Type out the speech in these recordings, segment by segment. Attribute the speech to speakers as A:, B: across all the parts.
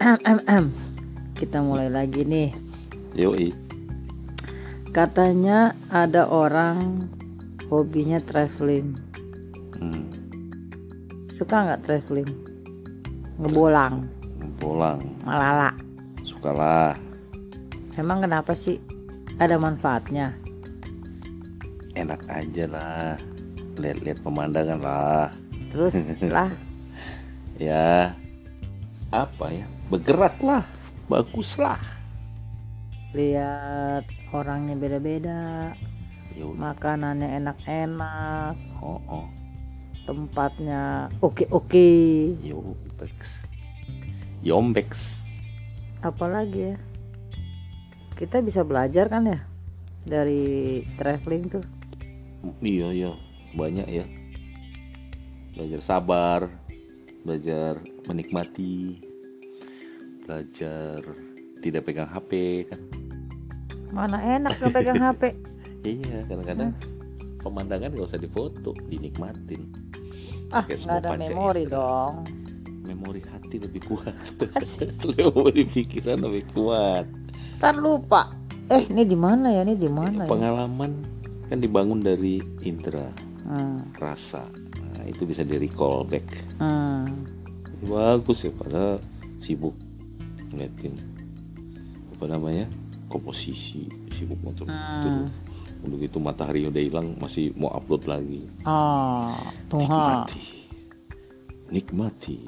A: Ahem, ahem, ahem. Kita mulai lagi nih.
B: Yoi.
A: Katanya ada orang hobinya traveling.
B: Hmm,
A: Suka nggak traveling? Ngebolang,
B: pulang.
A: malala.
B: Sukalah.
A: Emang kenapa sih? Ada manfaatnya.
B: Enak aja lah. Lihat-lihat pemandangan lah.
A: Terus lah,
B: Ya. Apa ya? Bergerak lah. Bagus lah.
A: lihat orangnya beda-beda,
B: Yoi.
A: makanannya enak-enak,
B: Oh, oh.
A: tempatnya oke-oke.
B: Yobeks. Yombeks.
A: Apalagi ya? Kita bisa belajar kan ya dari traveling tuh.
B: Hmm, Iya, iya. Banyak ya. Belajar sabar. Belajar menikmati. Belajar tidak pegang HP kan.
A: Mana enak nggak pegang HP.
B: Iya, kadang-kadang pemandangan gak usah difoto, dinikmatin.
A: Ah, nggak
B: Kayak
A: ada
B: semua panca
A: memori
B: indera.
A: dong.
B: Memori hati lebih kuat,
A: Asik.
B: memori pikiran lebih kuat.
A: Ntar lupa. Eh, ini di mana ya? Ini di mana ya?
B: Pengalaman kan dibangun dari indera,
A: Hmm,
B: rasa. Nah, itu bisa di recall back.
A: hmm.
B: Bagus ya pada sibuk ngeliatin apa namanya komposisi sibuk motor
A: Hmm.
B: Udah gitu matahari udah hilang masih mau upload lagi.
A: Oh, Tuhan.
B: Nikmati. Nikmati.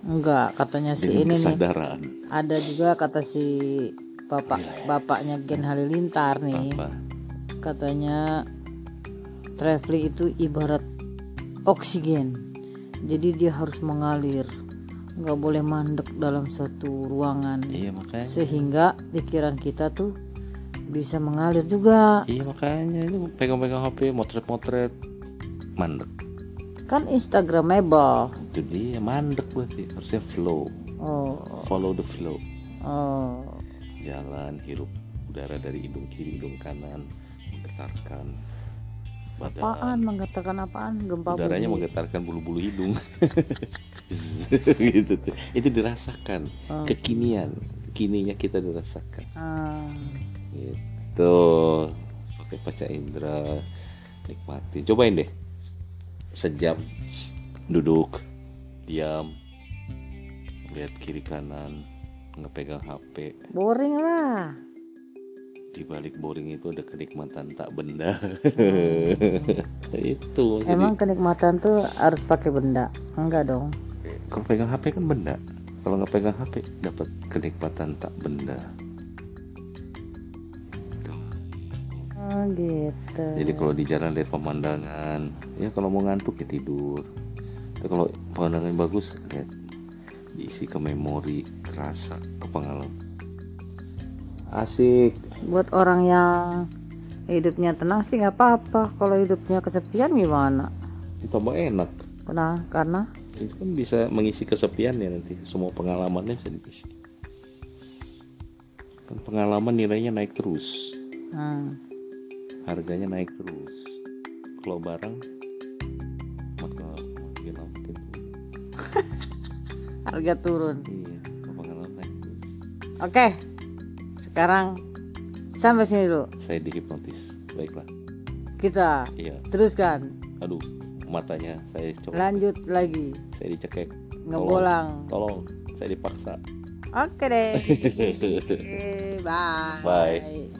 A: Enggak, katanya si
B: dengan
A: ini nih.
B: kesadaran
A: Ada juga kata si
B: Iya,
A: bapak bapaknya Gen Halilintar nih.
B: apa
A: Katanya traveling itu ibarat oksigen. Jadi dia harus mengalir. Nggak boleh mandek dalam satu ruangan.
B: iya makanya
A: Sehingga pikiran kita tuh bisa mengalir juga.
B: iya makanya itu pegang-pegang HP motret-motret mandek
A: Kan Instagramable.
B: itu dia mandek berarti harusnya flow
A: Oh,
B: follow the flow
A: oh.
B: jalan hirup udara dari hidung kiri hidung kanan menggetarkan badan
A: Apaan mengatakan apaan? Gempa
B: Ya. udaranya
A: bumi.
B: menggetarkan bulu-bulu hidung gitu tuh itu dirasakan
A: Hmm.
B: kekinian kininya kita dirasakan
A: Ah,
B: gitu pakai paca indera nikmatin cobain deh sejam duduk diam lihat kiri kanan ngepegang HP
A: boring lah.
B: di balik boring itu ada kenikmatan tak benda itu jadi
A: Emang kenikmatan tuh harus pakai benda? Enggak dong.
B: kalau pegang HP kan benda kalau nggak pegang HP dapat kenikmatan tak benda
A: Oh, gitu.
B: Jadi kalau di jalan lihat pemandangan, ya kalau mau ngantuk ya tidur. Tapi kalau pemandangan bagus lihat diisi ke memori, kerasa, ke pengalaman. Asik.
A: Buat orang yang hidupnya tenang sih nggak apa-apa. Kalau hidupnya kesepian gimana?
B: Ditambah enak.
A: Nah, karena
B: Itu kan bisa mengisi kesepian ya nanti. Semua pengalamannya bisa diisi. Kan pengalaman nilainya naik terus,
A: hmm,
B: harganya naik terus. Kalau barang makin lama makin lama makin turun.
A: harga turun.
B: Iya, kalau pengalaman naik terus.
A: Oke, sekarang sampai sini dulu.
B: saya dihipnotis baiklah
A: Kita
B: iya
A: teruskan,
B: aduh matanya saya coba
A: lanjut lagi
B: saya dicekek
A: ngebolang.
B: tolong saya dipaksa
A: Oke deh. Bye.
B: Bye.